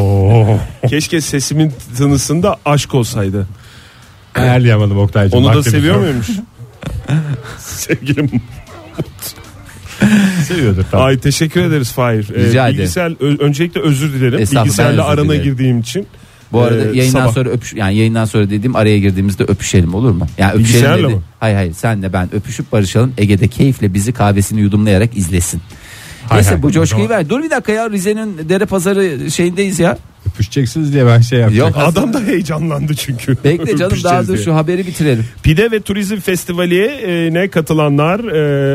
S5: keşke sesimin tınısında aşk olsaydı.
S3: Ayarlayamadım Oktay'cığım.
S5: Onu da
S3: Vaktimiz
S5: seviyor
S3: yok.
S5: muymuş? Sevgilim.
S3: Seviyordur tabii.
S5: Ay teşekkür ederiz Fahir. Ee,
S4: Rica ederim.
S5: bilgisayar- ö- öncelikle özür dilerim.
S4: Estağfurullah, ben
S5: Bilgisayarla
S4: özür
S5: arana
S4: dilerim.
S5: girdiğim için.
S4: Bu arada
S5: Ee,
S4: yayından
S5: sabah.
S4: sonra öpüş yani yayından sonra dediğim araya girdiğimizde öpüşelim olur mu? Yani öpüşelim
S5: Bilgisayarla
S4: dedi.
S5: mı?
S4: Hayır hayır senle ben öpüşüp barışalım. Ege'de keyifle bizi kahvesini yudumlayarak izlesin.
S3: Hay
S4: Neyse
S3: hay,
S4: bu coşkuyu
S3: o zaman-
S4: ver. Dur bir dakika ya Rize'nin Dere Pazarı şeyindeyiz ya.
S3: Öpüşeceksiniz diye ben şey yapacağım.
S4: Yok
S5: Adam da heyecanlandı çünkü.
S4: Bekle canım daha
S5: Öpüşeceğiz
S4: dur
S5: diye.
S4: şu haberi bitirelim.
S5: Pide ve Turizm Festivali'ne e, katılanlar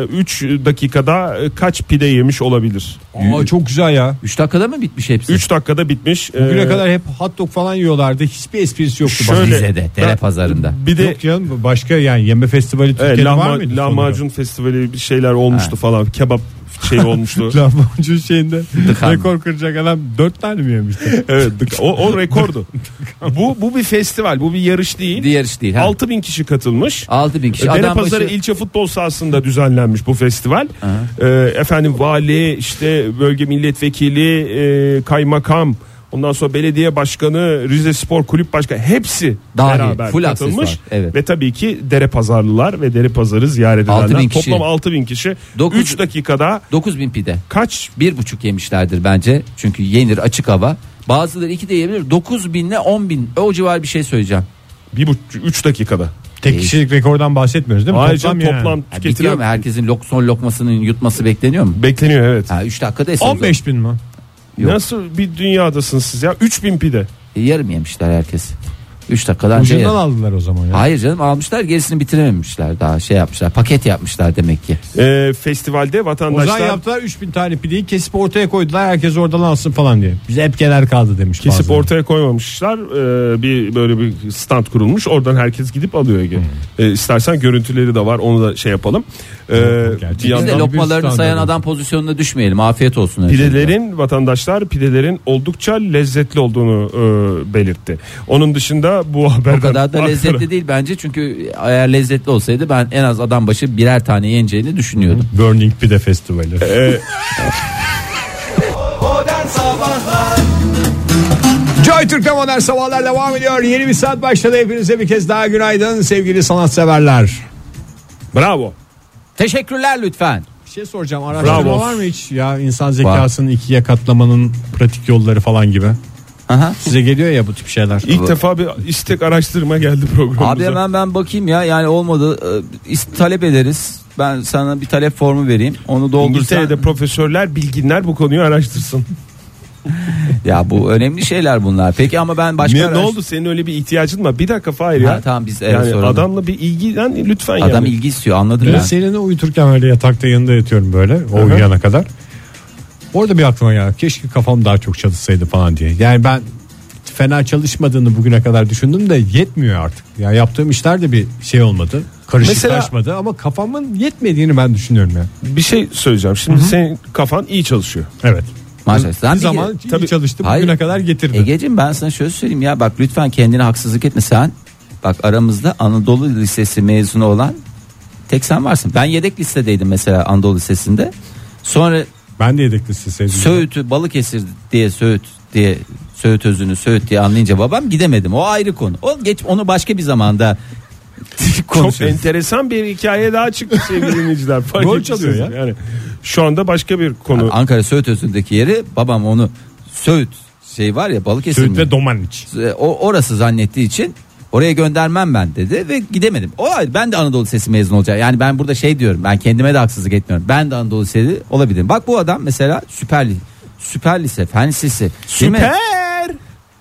S5: 3 dakikada e, kaç pide yemiş olabilir?
S3: Aa, çok güzel ya.
S4: 3 dakikada mı bitmiş hepsi?
S5: 3 dakikada bitmiş.
S3: Bugüne
S5: E,
S3: kadar hep hot dog falan yiyorlardı. Hiçbir esprisi yoktu.
S5: Şöyle-
S4: Rize'de Dere
S5: Ben-
S4: Pazarında.
S5: bir de
S3: Yok canım başka yani yeme festivali Türkiye'de
S5: e,
S3: var
S5: lahma,
S3: mıydı?
S5: lahmacun festivali bir şeyler olmuştu falan. Kebap şey olmuştu.
S3: sonunda? Lahmacun şeyinde
S4: Dıkan.
S3: rekor kıracak adam dört tane mi yemişti?
S5: evet, o, o rekordu. bu bu bir festival, bu bir yarış değil.
S4: Diğer iş değil. ha.
S5: 6000 kişi katılmış.
S4: 6000 kişi.
S5: Dere
S4: Adam
S5: Pazarı
S4: başı-
S5: ilçe futbol sahasında düzenlenmiş bu festival. Ee, efendim vali, işte bölge milletvekili, e, kaymakam, ondan sonra belediye başkanı, Rize Spor Kulüp Başkanı hepsi
S4: Dahil,
S5: beraber
S4: full aksesuar,
S5: katılmış.
S4: evet.
S5: Ve tabii ki Dere Pazarlılar ve Dere Pazarı ziyaret edenler.
S4: 6000 kişi.
S5: Toplam 6000 kişi.
S4: Dokuz-
S5: 3 dakikada
S4: 9000 pide.
S5: kaç
S4: bir buçuk yemişlerdir bence. Çünkü yenir açık hava. Bazıları iki de yiyebilir. 9 binle 10 bin. O civar bir şey söyleyeceğim.
S5: bir 3 dakikada.
S3: Tek kişilik rekordan bahsetmiyoruz değil mi?
S5: Ayrıca toplam,
S3: yani.
S4: Ha, bitiyor
S5: tüketilen
S4: mu? Herkesin lok, son lokmasının yutması bekleniyor mu?
S5: bekleniyor evet.
S4: Ha 3 dakikada eseriz.
S3: 15 bin mi?
S4: Yok.
S5: Nasıl bir dünyadasınız siz ya? 3000 pide.
S4: E, Yarım yemişler herkes. 3 dakikadan
S5: şey
S4: önce
S3: Ucundan
S4: yarım.
S3: aldılar o zaman ya.
S4: Hayır canım almışlar gerisini bitirememişler daha şey yapmışlar paket yapmışlar demek ki.
S5: Ee, festivalde
S3: O
S5: vatandaşlar
S3: zaman yaptılar 3000 tane pideyi kesip ortaya koydular herkes oradan alsın falan diye. Bize hep genel kaldı demiş.
S5: Kesip
S3: bazıları.
S5: ortaya koymamışlar. Ee, bir böyle bir stand kurulmuş. Oradan herkes gidip alıyor Ege. Ee, istersen görüntüleri de var. Onu da şey yapalım. Ee,
S3: gerçi.
S5: bir
S4: Biz de
S5: yandan
S4: lokmalarını
S3: bir
S4: sayan
S3: standart.
S4: adam pozisyonuna düşmeyelim afiyet olsun.
S5: pidelerin vatandaşlar pidelerin oldukça lezzetli olduğunu e, belirtti. Onun dışında bu haberden
S4: O kadar da
S5: aktara-
S4: lezzetli değil bence çünkü eğer lezzetli olsaydı ben en az adam başı birer tane yeneceğini düşünüyordum.
S3: Burning Pide Festivali.
S2: Modern Sabahlar
S3: Joy Türk'te modern sabahlar devam ediyor. Yeni bir saat başladı. Hepinize bir kez daha günaydın sevgili sanatseverler.
S5: Bravo.
S4: Teşekkürler lütfen.
S3: Bir şey soracağım. Araştırma
S5: Bravo.
S3: var mı hiç? Ya insan zekasını ikiye katlamanın pratik yolları falan gibi.
S4: Aha.
S3: Size geliyor ya bu tip şeyler.
S5: İlk defa bir istek araştırma geldi programımıza.
S4: Abi hemen ben bakayım ya yani olmadı Ee, is- talep ederiz. Ben sana bir talep formu vereyim. Onu doldursan.
S5: İngiltere'de profesörler, bilginler bu konuyu araştırsın.
S4: Ya bu önemli şeyler bunlar. Peki ama ben başka
S5: Ne, ne
S4: araştır-
S5: oldu senin öyle bir ihtiyacın var? Bir dakika Fahir
S4: Ha,
S5: ya.
S4: tamam, biz evet,
S5: yani
S4: soralım.
S5: adamla bir ilgilen lütfen
S4: Adam
S5: yani.
S4: ilgi istiyor anladım
S3: Ben
S4: ben.
S3: seninle uyuturken öyle yatakta yanında yatıyorum böyle. O uyuyana kadar. Orada bir aklıma ya keşke kafam daha çok çalışsaydı falan diye. Yani ben fena çalışmadığını bugüne kadar düşündüm de yetmiyor artık. Ya yaptığım işler de bir şey olmadı. Karışıklaşmadı ama kafamın yetmediğini ben düşünüyorum ya.
S5: Bir şey söyleyeceğim. Şimdi senin kafan iyi çalışıyor.
S3: Evet.
S4: Maşallah. Sen
S3: Bir
S4: bir-
S3: zaman
S5: tabii-
S3: iyi çalıştı
S4: Hayır.
S3: bugüne kadar getirdi.
S4: Ege'cim ben sana şöyle söyleyeyim ya bak lütfen kendine haksızlık etme sen. Bak aramızda Anadolu Lisesi mezunu olan tek sen varsın. Ben yedek listedeydim mesela Anadolu Lisesi'nde. Sonra
S3: Ben de yedek listeseydim.
S4: Söğüt'ü Balıkesir diye Söğüt diye Söğüt özünü Söğüt diye anlayınca babam gidemedim. O ayrı konu. O geç onu başka bir zamanda
S5: Çok
S4: konuşuruz.
S5: enteresan bir hikaye daha çıktı sevgili dinleyiciler. Fark
S3: Rol
S5: etmişsiniz.
S3: çalıyor ya.
S5: Yani şu anda başka bir konu.
S4: Ankara Söğüt özündeki yeri babam onu Söğüt şey var ya Balıkesir
S3: Söğüt
S4: mi?
S3: ve Domaniç.
S4: E, o orası zannettiği için oraya göndermem ben dedi ve gidemedim. O ayrı, ben de Anadolu Lisesi mezun olacağım. Yani ben burada şey diyorum. Ben kendime de haksızlık etmiyorum. Ben de Anadolu Lisesi olabilirim. Bak bu adam mesela süper li- süper lise, fen lisesi, değil mi?
S5: Süper.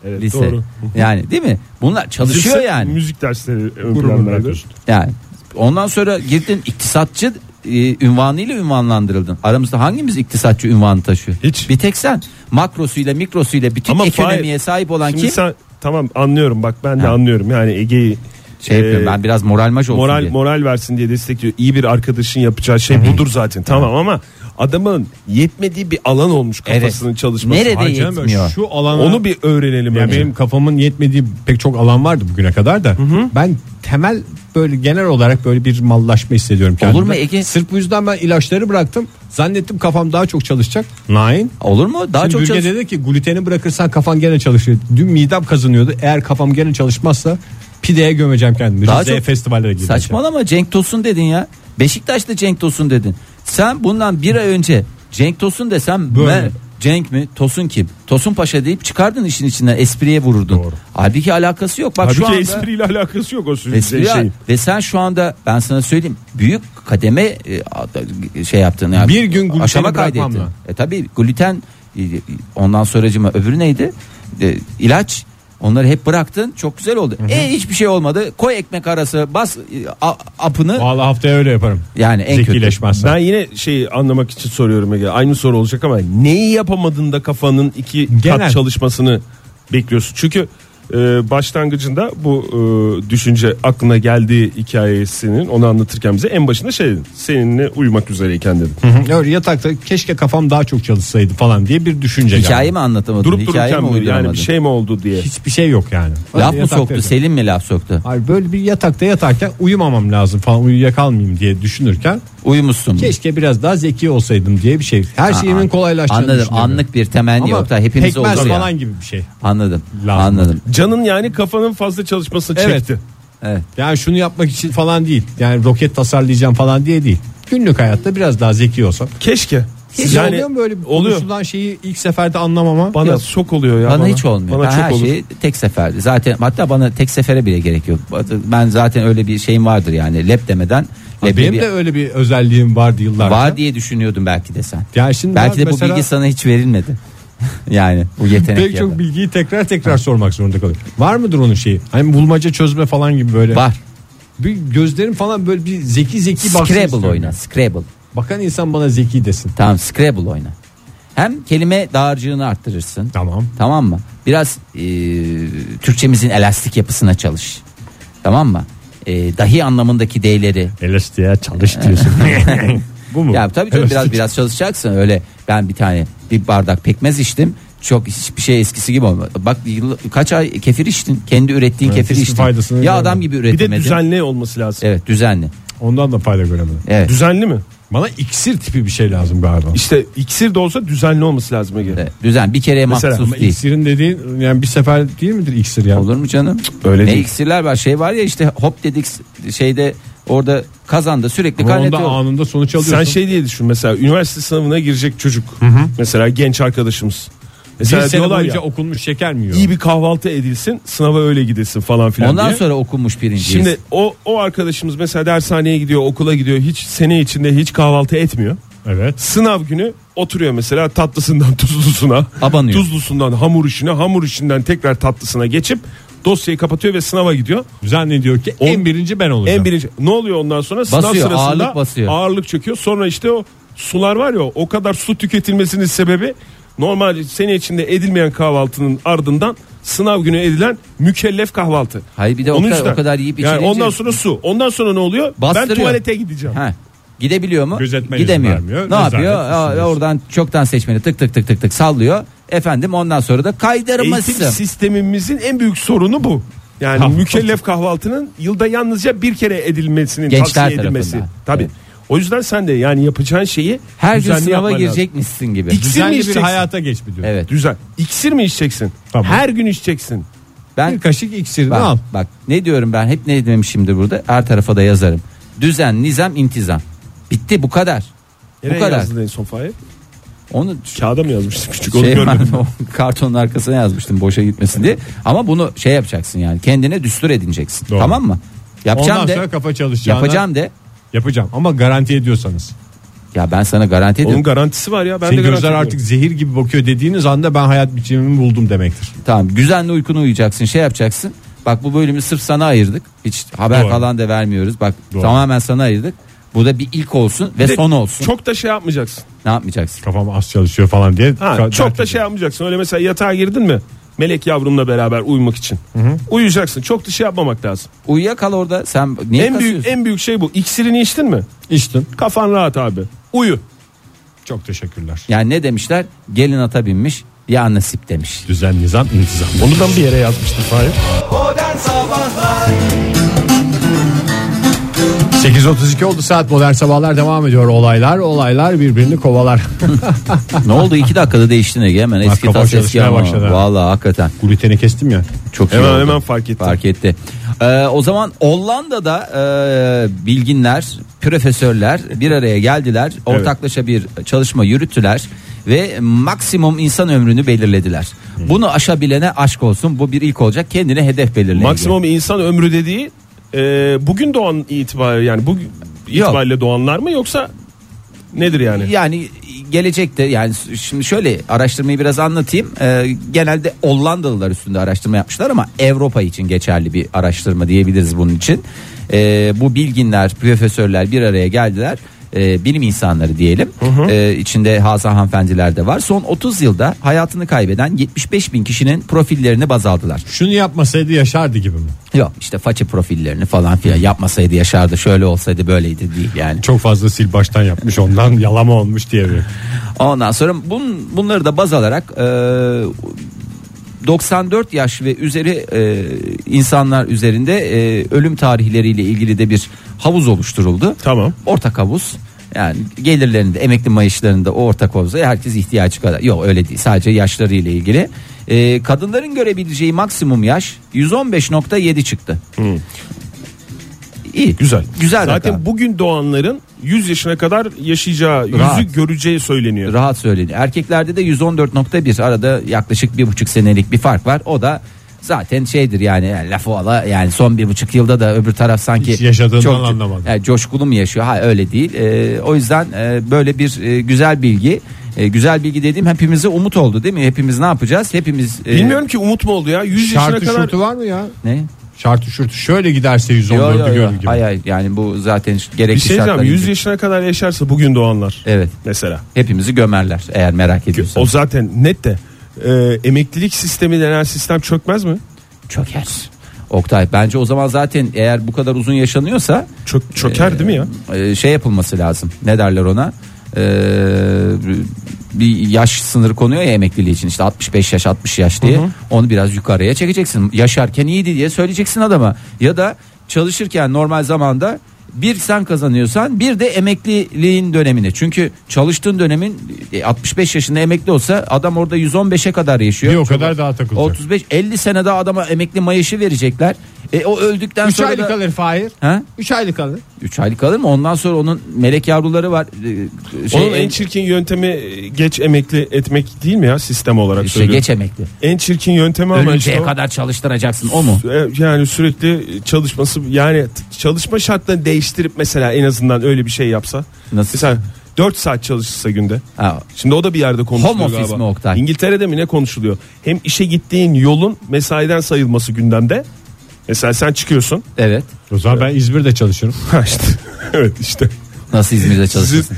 S5: Evet,
S4: lise.
S5: doğru.
S4: Yani değil mi? Bunlar çalışıyor
S5: Lise,
S4: yani.
S5: Müzik dersleri ön
S3: Gururla
S5: planlardır.
S3: diyorsun.
S4: Yani ondan sonra girdin iktisatçı e, ünvanıyla ünvanlandırıldın. Aramızda hangimiz iktisatçı ünvanı taşıyor?
S5: Hiç.
S4: Bir tek sen. Makrosuyla mikrosuyla bütün
S5: Ama
S4: ekonomiye
S5: Fahir,
S4: sahip olan
S5: Şimdi
S4: kim?
S5: sen tamam anlıyorum bak ben de anlıyorum yani Ege'yi
S4: Şey yapıyorum
S5: e,
S4: ben biraz moral maç olsun
S5: moral
S4: diye.
S5: moral versin diye destekliyor. İyi bir arkadaşın yapacağı şey budur zaten. Tamam ama adamın yetmediği bir alan olmuş kafasının
S4: Evet.
S5: çalışması.
S4: Nerede
S5: Hayır canım,
S4: yetmiyor?
S3: Şu alana
S5: Onu bir öğrenelim
S3: Yani
S5: önce.
S3: benim kafamın yetmediği pek çok alan vardı bugüne kadar da. Ben temel böyle genel olarak böyle bir mallaşma hissediyorum kendimde.
S4: mu Ege?
S3: Sırf bu yüzden ben ilaçları bıraktım. Zannettim kafam daha çok çalışacak. Nain.
S4: Olur mu? Daha
S3: Şimdi
S4: çok
S3: Bülge
S4: çalış.
S3: dedi ki gluteni bırakırsan kafan gene çalışır. Dün midem kazanıyordu. Eğer kafam gene çalışmazsa pideye gömeceğim kendimi.
S4: Daha
S3: Daha Rize'ye
S4: çok-
S3: festivallere gideceğim.
S4: Saçmalama Cenk Tosun dedin ya. Beşiktaş'ta Cenk Tosun dedin. Sen bundan bir ay önce Cenk Tosun desem
S3: Böyle.
S4: ben Cenk mi? Tosun kim? Tosun Paşa deyip çıkardın işin içinden espriye vururdun. Halbuki alakası yok. Bak
S5: Halbuki
S4: şu anda
S5: espriyle alakası yok o
S4: Espri
S5: sürece şey.
S4: ve sen şu anda ben sana söyleyeyim büyük kademe e, a- şey yaptın yani.
S3: Bir gün gluteni
S4: aşama
S3: bırakmamla.
S4: kaydettin. E tabii gluten e, ondan sonracıma öbürü neydi? E, ilaç onları hep bıraktın çok güzel oldu. E hiçbir şey olmadı. Koy ekmek arası bas e, a- apını
S3: Vallahi haftaya öyle yaparım.
S4: yani en kötü.
S3: Zekileşmezsen.
S5: Ben yine şeyi anlamak için soruyorum Ege. Aynı soru olacak ama neyi yapamadın da kafanın iki
S3: Genel.
S5: kat çalışmasını bekliyorsun? Çünkü e, başlangıcında bu e, düşünce aklına geldiği hikayesinin onu anlatırken bize en başında şey dedin. Seninle uyumak üzereyken dedim.
S3: Öyle yatakta keşke kafam daha çok çalışsaydı falan diye bir düşünce
S4: Hikaye
S3: geldi.
S4: mi anlatamadın?
S5: Durup
S4: hikaye
S5: dururken
S4: mi
S5: mi yani
S4: uyduramadın?
S5: bir şey mi oldu diye.
S3: Hiçbir şey yok yani.
S4: Laf
S3: Öyle
S4: mı
S3: yatakta
S4: soktu?
S3: yatıyorum.
S4: Selim mi laf soktu?
S3: Hayır böyle bir yatakta yatarken uyumamam lazım falan uyuyakalmayayım diye düşünürken
S4: Uyumuşsun. mu?
S3: keşke biraz daha zeki olsaydım diye bir şey. Her şeyimin
S4: Aa,
S3: kolaylaştığını
S4: Anladım.
S3: düşünüyorum.
S4: Anlık bir temenni
S3: Ama
S4: yok da hepimiz
S3: pekmez
S4: olur ya.
S3: falan gibi bir şey.
S4: Anladım.
S3: Lazım.
S4: Anladım.
S5: Canın yani kafanın fazla çalışmasını
S3: Evet.
S5: çekti.
S4: Evet.
S3: Yani şunu yapmak için falan değil. Yani roket tasarlayacağım falan diye değil. Günlük hayatta biraz daha zeki olsam.
S5: Keşke.
S3: Siz oluyor mu böyle bir
S5: oluyor.
S3: konuşulan şeyi ilk seferde anlamama?
S5: Bana
S3: Yok.
S5: çok oluyor ya.
S4: Bana, hiç olmuyor.
S5: Bana
S4: ben
S5: çok
S4: her
S5: olur.
S4: şeyi tek seferde. Zaten hatta bana tek sefere bile gerek yok. Ben zaten öyle bir şeyim vardır yani. Lep demeden
S3: Ha,
S4: leblebi
S3: benim de öyle bir özelliğim vardı yıllarca.
S4: var diye düşünüyordum belki de sen.
S3: Yani şimdi
S4: belki
S3: ben
S4: de bu
S3: mesela-
S4: bilgi sana hiç verilmedi. yani bu yetenek
S3: Pek
S4: ya
S3: çok
S4: da.
S3: bilgiyi tekrar tekrar sormak zorunda kalıyorum. Var mıdır onun şeyi? Hani bulmaca çözme falan gibi böyle.
S4: var.
S3: Bir gözlerim falan böyle bir zeki zeki baksın
S4: Scrabble
S3: istiyorum
S4: oyna.
S3: yani.
S4: Scrabble.
S3: Bakan insan bana zeki desin.
S4: Tamam Scrabble oyna. Hem kelime dağarcığını arttırırsın.
S3: Tamam.
S4: Tamam mı? Biraz e, Türkçemizin elastik yapısına çalış. Tamam mı? E, dahi anlamındaki D'leri
S3: Elastiğe çalış diyorsun. Bu mu?
S4: Ya tabii tabii biraz biraz çalışacaksın öyle. Ben bir tane bir bardak pekmez içtim. Çok hiçbir şey eskisi gibi olmadı. Bak yıl- kaç ay kefir içtin. Kendi ürettiğin kefiri
S3: hiçbir
S4: içtin.
S3: faydasını
S4: ya
S3: görmedim.
S4: adam gibi
S5: Bir
S4: üretemedin.
S5: de düzenli olması lazım.
S4: Evet düzenli.
S3: Ondan da fayda göremedim.
S4: Evet.
S5: Düzenli mi?
S3: Bana iksir tipi bir şey lazım galiba.
S5: İşte iksir de olsa düzenli olması lazım Ege.
S4: Evet, Düzen bir kere
S5: Mesela
S4: mahsus
S3: Ama
S4: değil.
S3: iksirin dediğin yani bir sefer değil midir iksir yani?
S4: Olur mu canım?
S5: Öyle
S4: ne
S5: değil.
S4: iksirler var. Şey var ya işte hop dedik şeyde orada kazanda sürekli
S3: Ama onda
S4: kaynatıyor.
S3: anında sonuç alıyorsun.
S5: Sen şey diye düşün mesela üniversite sınavına girecek çocuk. Mesela genç arkadaşımız. Mesela
S3: bir sene
S5: diyorlar
S3: boyunca
S5: ya
S3: okunmuş şeker mi yiyor?
S5: iyi bir kahvaltı edilsin sınava öyle gidilsin falan filan
S4: Ondan
S5: diye.
S4: sonra okunmuş birinciyiz.
S5: Şimdi o, o arkadaşımız mesela dershaneye gidiyor okula gidiyor hiç sene içinde hiç kahvaltı etmiyor.
S3: Evet.
S5: Sınav günü oturuyor mesela tatlısından tuzlusuna.
S4: Abanıyor.
S5: Tuzlusundan hamur işine hamur işinden tekrar tatlısına geçip dosyayı kapatıyor ve sınava gidiyor.
S3: Zannediyor ki en birinci ben olacağım.
S5: En birinci ne oluyor ondan sonra sınav
S4: Basıyor,
S5: sırasında
S4: ağırlık basıyor.
S5: ağırlık çöküyor. Sonra işte o sular var ya o kadar su tüketilmesinin sebebi normal sene içinde edilmeyen kahvaltının ardından sınav günü edilen mükellef kahvaltı.
S4: Hayır, bir de o kadar- o kadar yiyip
S5: yani
S4: içilince-
S5: ondan sonra su. Ondan sonra ne oluyor? Ben
S4: Bastırıyor.
S5: tuvalete gideceğim.
S4: Ha. Gidebiliyor mu?
S3: Gözetme izni
S4: Gidemiyor.
S3: vermiyor.
S4: Ne
S3: Rezalet şey.
S4: yapıyor?
S3: düşünüyorsun.
S4: Aa, Oradan çoktan seçmeni tık tık tık tık tık sallıyor. Efendim ondan sonra da
S5: Eğitim
S4: kaydırması.
S5: sistemimizin en büyük sorunu bu. Yani
S3: Kahvaltı.
S5: mükellef kahvaltının yılda yalnızca bir kere edilmesinin
S4: Gençler
S5: tavsiye edilmesi.
S4: tarafından.
S5: Tabii.
S4: Evet.
S5: O yüzden sen de yani yapacağın şeyi
S4: Her gün
S5: düzenli
S4: sınava
S5: yapman lazım.
S4: girecekmişsin gibi.
S5: İlk- iksir mi
S3: Düzenli bir
S5: içeceksin?
S3: hayata geç mi diyor.
S4: Evet.
S5: Düzen. İksir mi içeceksin?
S3: Tamam.
S5: Her gün içeceksin.
S4: Ben
S3: Bir kaşık iksirini
S4: bak,
S3: al.
S4: bak ne diyorum ben hep ne demişimdir burada. Her tarafa da yazarım. Düzen, nizam, intizam. Bitti bu kadar.
S5: Nereye
S4: bu kadar.
S5: yazdın en son Fahir?
S4: Onu
S5: Kağıda mı yazmıştın küçük onu
S4: şey
S5: görmedim.
S4: o kartonun arkasına yazmıştım boşa gitmesin diye. Ama bunu şey yapacaksın yani kendine düstur edineceksin.
S3: Doğru.
S4: Tamam mı? Yapacağım
S3: Ondan
S4: de.
S3: sonra kafa çalışacağına
S4: yapacağım de.
S3: Yapacağım ama garanti ediyorsanız.
S4: Ya ben sana garanti ediyorum.
S5: Onun garantisi var ya. Ben
S3: Senin
S5: de
S3: gözler artık zehir gibi bakıyor dediğiniz anda ben hayat biçimimi buldum demektir.
S4: Tamam güzenli uykunu uyuyacaksın şey yapacaksın. Bak bu bölümü sırf sana ayırdık. Hiç haber
S3: Doğru.
S4: falan da vermiyoruz. Bak
S3: Doğru.
S4: tamamen sana ayırdık. Bu da bir ilk olsun ve son olsun.
S5: Çok da şey yapmayacaksın.
S4: Ne yapmayacaksın?
S3: Kafam az çalışıyor falan diye.
S5: Ha,
S3: Ka-
S5: çok
S3: dert
S5: da şey
S3: ediyorum.
S5: yapmayacaksın. Öyle mesela yatağa girdin mi? Melek yavrumla beraber uyumak için. Uyuyacaksın. Çok da şey yapmamak lazım.
S4: Uyuyakal orada. Sen niye
S5: en büyük en büyük şey bu. İksirini içtin mi?
S3: İçtim.
S5: Kafan rahat abi. Uyu.
S3: Çok teşekkürler.
S4: Yani ne demişler? Gelin ata binmiş ya nasip demiş.
S3: Düzen, nizam, intizam. Onu da mı bir yere yazmıştı Fahir?
S2: Modern Sabahlar
S3: 8.32 oldu saat modern sabahlar devam ediyor olaylar. Olaylar birbirini kovalar.
S4: ne oldu iki dakikada değiştin Ege hemen eski
S3: kafam
S4: tas eski
S3: çalışmaya
S4: ama.
S3: başladı ha.
S4: Valla hakikaten
S3: Gluteni kestim ya.
S4: çok iyi
S5: Hemen
S4: oldu.
S5: hemen fark ettim.
S4: Fark etti. Ee, o zaman Hollanda'da e, bilginler, profesörler bir araya geldiler. Ortaklaşa bir çalışma yürüttüler ve maksimum insan ömrünü belirlediler. Bunu aşabilene aşk olsun. Bu bir ilk olacak. Kendine hedef belirleyin.
S5: Maksimum insan ömrü dediği e, bugün doğan itibariyle yani bu itibariyle doğanlar mı yoksa nedir yani?
S4: Yani gelecekte yani şimdi şöyle araştırmayı biraz anlatayım. Ee, genelde Hollandalılar üstünde araştırma yapmışlar ama Avrupa için geçerli bir araştırma diyebiliriz bunun için. Ee, bu bilginler, profesörler bir araya geldiler. Ee, bilim insanları diyelim. Ee, içinde Hasan hanımefendiler de var. Son 30 yılda hayatını kaybeden 75 bin kişinin profillerini baz aldılar.
S3: Şunu yapmasaydı yaşardı gibi mi?
S4: Yok işte faça profillerini falan filan yapmasaydı yaşardı şöyle olsaydı böyleydi değil yani.
S3: Çok fazla sil baştan yapmış ondan yalama olmuş diye bir.
S4: Ondan sonra bun, bunları da baz alarak e, 94 yaş ve üzeri e, insanlar üzerinde e, ölüm tarihleriyle ilgili de bir havuz oluşturuldu.
S5: Tamam.
S4: Ortak havuz. Yani gelirlerinde emekli maaşlarında o ortak havuza herkes ihtiyacı kadar. Yok öyle değil sadece yaşları ile ilgili. E, kadınların görebileceği maksimum yaş 115.7 çıktı. İyi.
S5: Güzel.
S4: Güzel
S5: Zaten
S4: rakam.
S5: bugün doğanların 100 yaşına kadar yaşayacağı, yüzü
S4: Rahat.
S5: göreceği söyleniyor.
S4: rahat söyleniyor. Erkeklerde de 114.1 arada yaklaşık bir buçuk senelik bir fark var. O da zaten şeydir yani, yani lafı ola yani son bir buçuk yılda da öbür taraf sanki
S3: Hiç yaşadığından anlamadım.
S4: yani coşkulu mu yaşıyor? Ha öyle değil. Ee, o yüzden e, böyle bir e, güzel bilgi e, güzel bilgi dediğim hepimize umut oldu değil mi? Hepimiz ne yapacağız? Hepimiz e,
S5: Bilmiyorum ki umut mu oldu ya? 100 yaşına
S3: Şartı
S5: kadar
S3: şurtu var mı ya?
S4: ne?
S3: Şartı şurtu şöyle giderse
S4: Yo,
S3: 114'ü
S4: yo, yo.
S3: görür gibi.
S4: Hayır, hayır. yani bu zaten
S5: bir
S4: gerekli
S5: şey diyeceğim.
S4: şartlar-
S5: 100 yaşına kadar yaşarsa bugün doğanlar.
S4: Evet.
S5: Mesela.
S4: Hepimizi gömerler eğer merak
S5: O
S4: ediyorsanız.
S5: zaten net de e, emeklilik sistemi denen sistem çökmez mi?
S4: Çöker. Oktay bence o zaman zaten eğer bu kadar uzun yaşanıyorsa
S5: Çök, çöker değil mi ya?
S4: e, şey yapılması lazım. Ne derler ona? Ee, bir yaş sınırı konuyor ya emekliliği için işte 65 yaş 60 yaş diye onu biraz yukarıya çekeceksin yaşarken iyiydi diye söyleyeceksin adama ya da çalışırken normal zamanda bir sen kazanıyorsan bir de emekliliğin dönemine çünkü çalıştığın dönemin e, 65 yaşında emekli olsa adam orada 115'e kadar yaşıyor
S3: Bir o kadar daha takılacak.
S4: 35 50 sene daha adama emekli maaşı verecekler e, o öldükten
S3: 3
S4: sonra
S3: aylık
S4: da-
S3: kalır Fahir.
S4: Ha?
S3: 3 aylık kalır.
S4: 3 aylık kalır mı? Ondan sonra onun melek yavruları var. Ee, Şey,
S5: Onun en çirkin yöntemi e, geç emekli etmek değil mi ya sistem olarak
S4: şey
S5: söylüyorum.
S4: geç emekli.
S5: En çirkin yöntemi ama
S4: Ölünceye
S5: işte o.
S4: kadar çalıştıracaksın o mu?
S5: E, yani sürekli çalışması yani t- çalışma şartlarını değiştirip mesela en azından öyle bir şey yapsa.
S4: Nasıl?
S5: Mesela 4 saat çalışırsa günde.
S4: Ha.
S5: Şimdi o da bir yerde konuşuluyor
S4: Home office
S5: galiba.
S4: mi Oktay?
S5: İngiltere'de mi ne konuşuluyor? Hem işe gittiğin yolun mesaiden sayılması gündemde. Mesela sen çıkıyorsun.
S4: Evet.
S3: O zaman ben İzmir'de çalışırım.
S5: Ha işte. evet işte.
S4: Nasıl İzmir'de
S5: Sizin
S4: çalışıyorsun?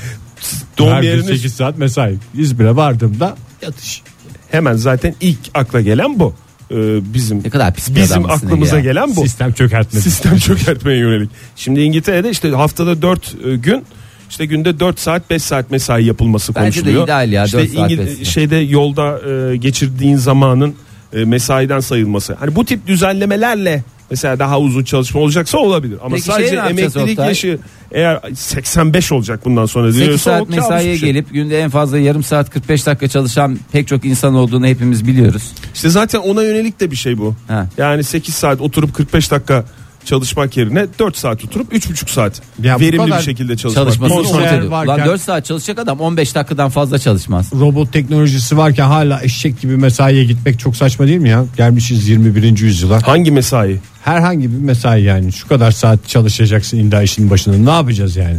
S5: doğum
S3: Her gün
S5: yeriniz
S3: 8 saat mesai. İzmir'e vardığımda yatış.
S5: hemen zaten ilk akla gelen bu. Ee, bizim
S4: Ne kadar pis bir
S5: bizim
S4: adammışsın
S5: aklımıza
S4: ya.
S5: gelen bu.
S3: Sistem çökertmedi.
S5: Sistem çökertmeye yönelik. Şimdi İngiltere'de işte haftada 4 gün işte günde 4 saat 5 saat mesai yapılması
S4: Bence de
S5: konuşuluyor.
S4: ideal ya,
S5: İşte
S4: dört saat,
S5: İngil-
S4: beş saat.
S5: şeyde yolda e, geçirdiğin zamanın e, mesaiden sayılması. Hani bu tip düzenlemelerle mesela daha uzun çalışma olacaksa olabilir. Ama
S4: Peki şey
S5: sadece
S4: ne yapacağız
S5: emeklilik
S4: Oktay?
S5: yaşı eğer 85 olacak bundan sonra
S4: 8
S5: diyorsa o
S4: saat
S5: kabus
S4: mesaiye
S5: bir şey.
S4: gelip günde en fazla yarım saat 45 dakika çalışan pek çok insan olduğunu hepimiz biliyoruz.
S5: İşte zaten ona yönelik de bir şey bu.
S4: Ha.
S5: Yani 8 saat oturup 45 dakika çalışmak yerine 4 saat oturup 3,5 saat
S3: Ya bu
S5: verimli
S3: kadar
S5: bir şekilde çalışmak.
S4: Çalışması
S5: Konsantre-
S3: Konser
S4: ortada.
S3: varken-
S4: Lan 4 saat çalışacak adam 15 dakikadan fazla çalışmaz.
S3: Robot teknolojisi varken hala eşek gibi mesaiye gitmek çok saçma değil mi ya? Gelmişiz 21. yüzyıla.
S5: Hangi mesai?
S3: Herhangi bir mesai yani şu kadar saat çalışacaksın illa işin başında ne yapacağız yani?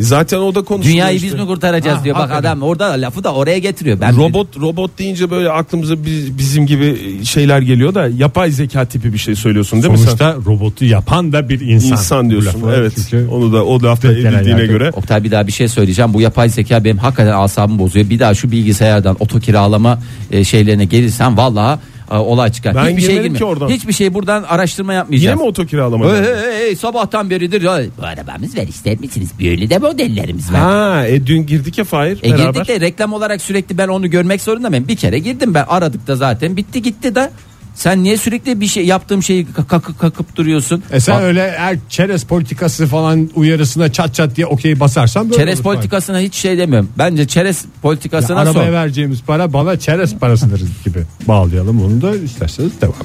S5: Zaten o da konuşuluyor.
S4: Dünyayı biz
S5: işte.
S4: mi kurtaracağız
S3: Ha,
S4: diyor. Bak
S3: hakikaten.
S4: adam orada lafı da oraya getiriyor. Ben
S5: Robot robot deyince böyle aklımıza biz- bizim gibi şeyler geliyor da yapay zeka tipi bir şey söylüyorsun değil mi
S3: Sonuçta robotu yapan da bir
S5: sen?
S3: insan.
S5: İnsan diyorsun.
S3: Bu lafı.
S5: evet.
S3: Çünkü
S5: Onu da o lafta
S3: Tek genel
S5: edildiğine
S3: yargı.
S5: göre.
S4: Oktay bir daha bir şey söyleyeceğim. Bu yapay zeka benim hakikaten asabımı bozuyor. Bir daha şu bilgisayardan oto kiralama e, şeylerine gelirsen vallahi e, olay çıkar.
S5: Ben
S4: Hiçbir şey
S5: girmedim
S4: girmiyor.
S5: ki oradan.
S4: Hiçbir şey buradan araştırma
S5: Yine
S4: yapmayacağız.
S5: mi oto kiralama?
S4: Hey, hey, hey, sabahtan beridir. ya, Bu arabamız var ister misiniz? Böyle de modellerimiz var.
S5: Ha, e, dün girdik ya Fahir
S4: E
S5: beraber.
S4: girdik de reklam olarak sürekli ben onu görmek zorunda mıyım? Bir kere girdim ben aradık da zaten bitti gitti de. Sen niye sürekli bir şey yaptığım şeyi ka- kakıp kakıp duruyorsun?
S3: E sen
S4: Bak,
S3: öyle er çerez politikası falan uyarısına çat çat diye okey basarsan böyle
S4: çerez
S3: olur.
S4: politikasına hiç şey demiyorum. Bence çerez
S3: Ya
S4: politikasına sor.
S3: arabaya vereceğimiz para bana çerez parasıdır gibi bağlayalım onu da isterseniz devam.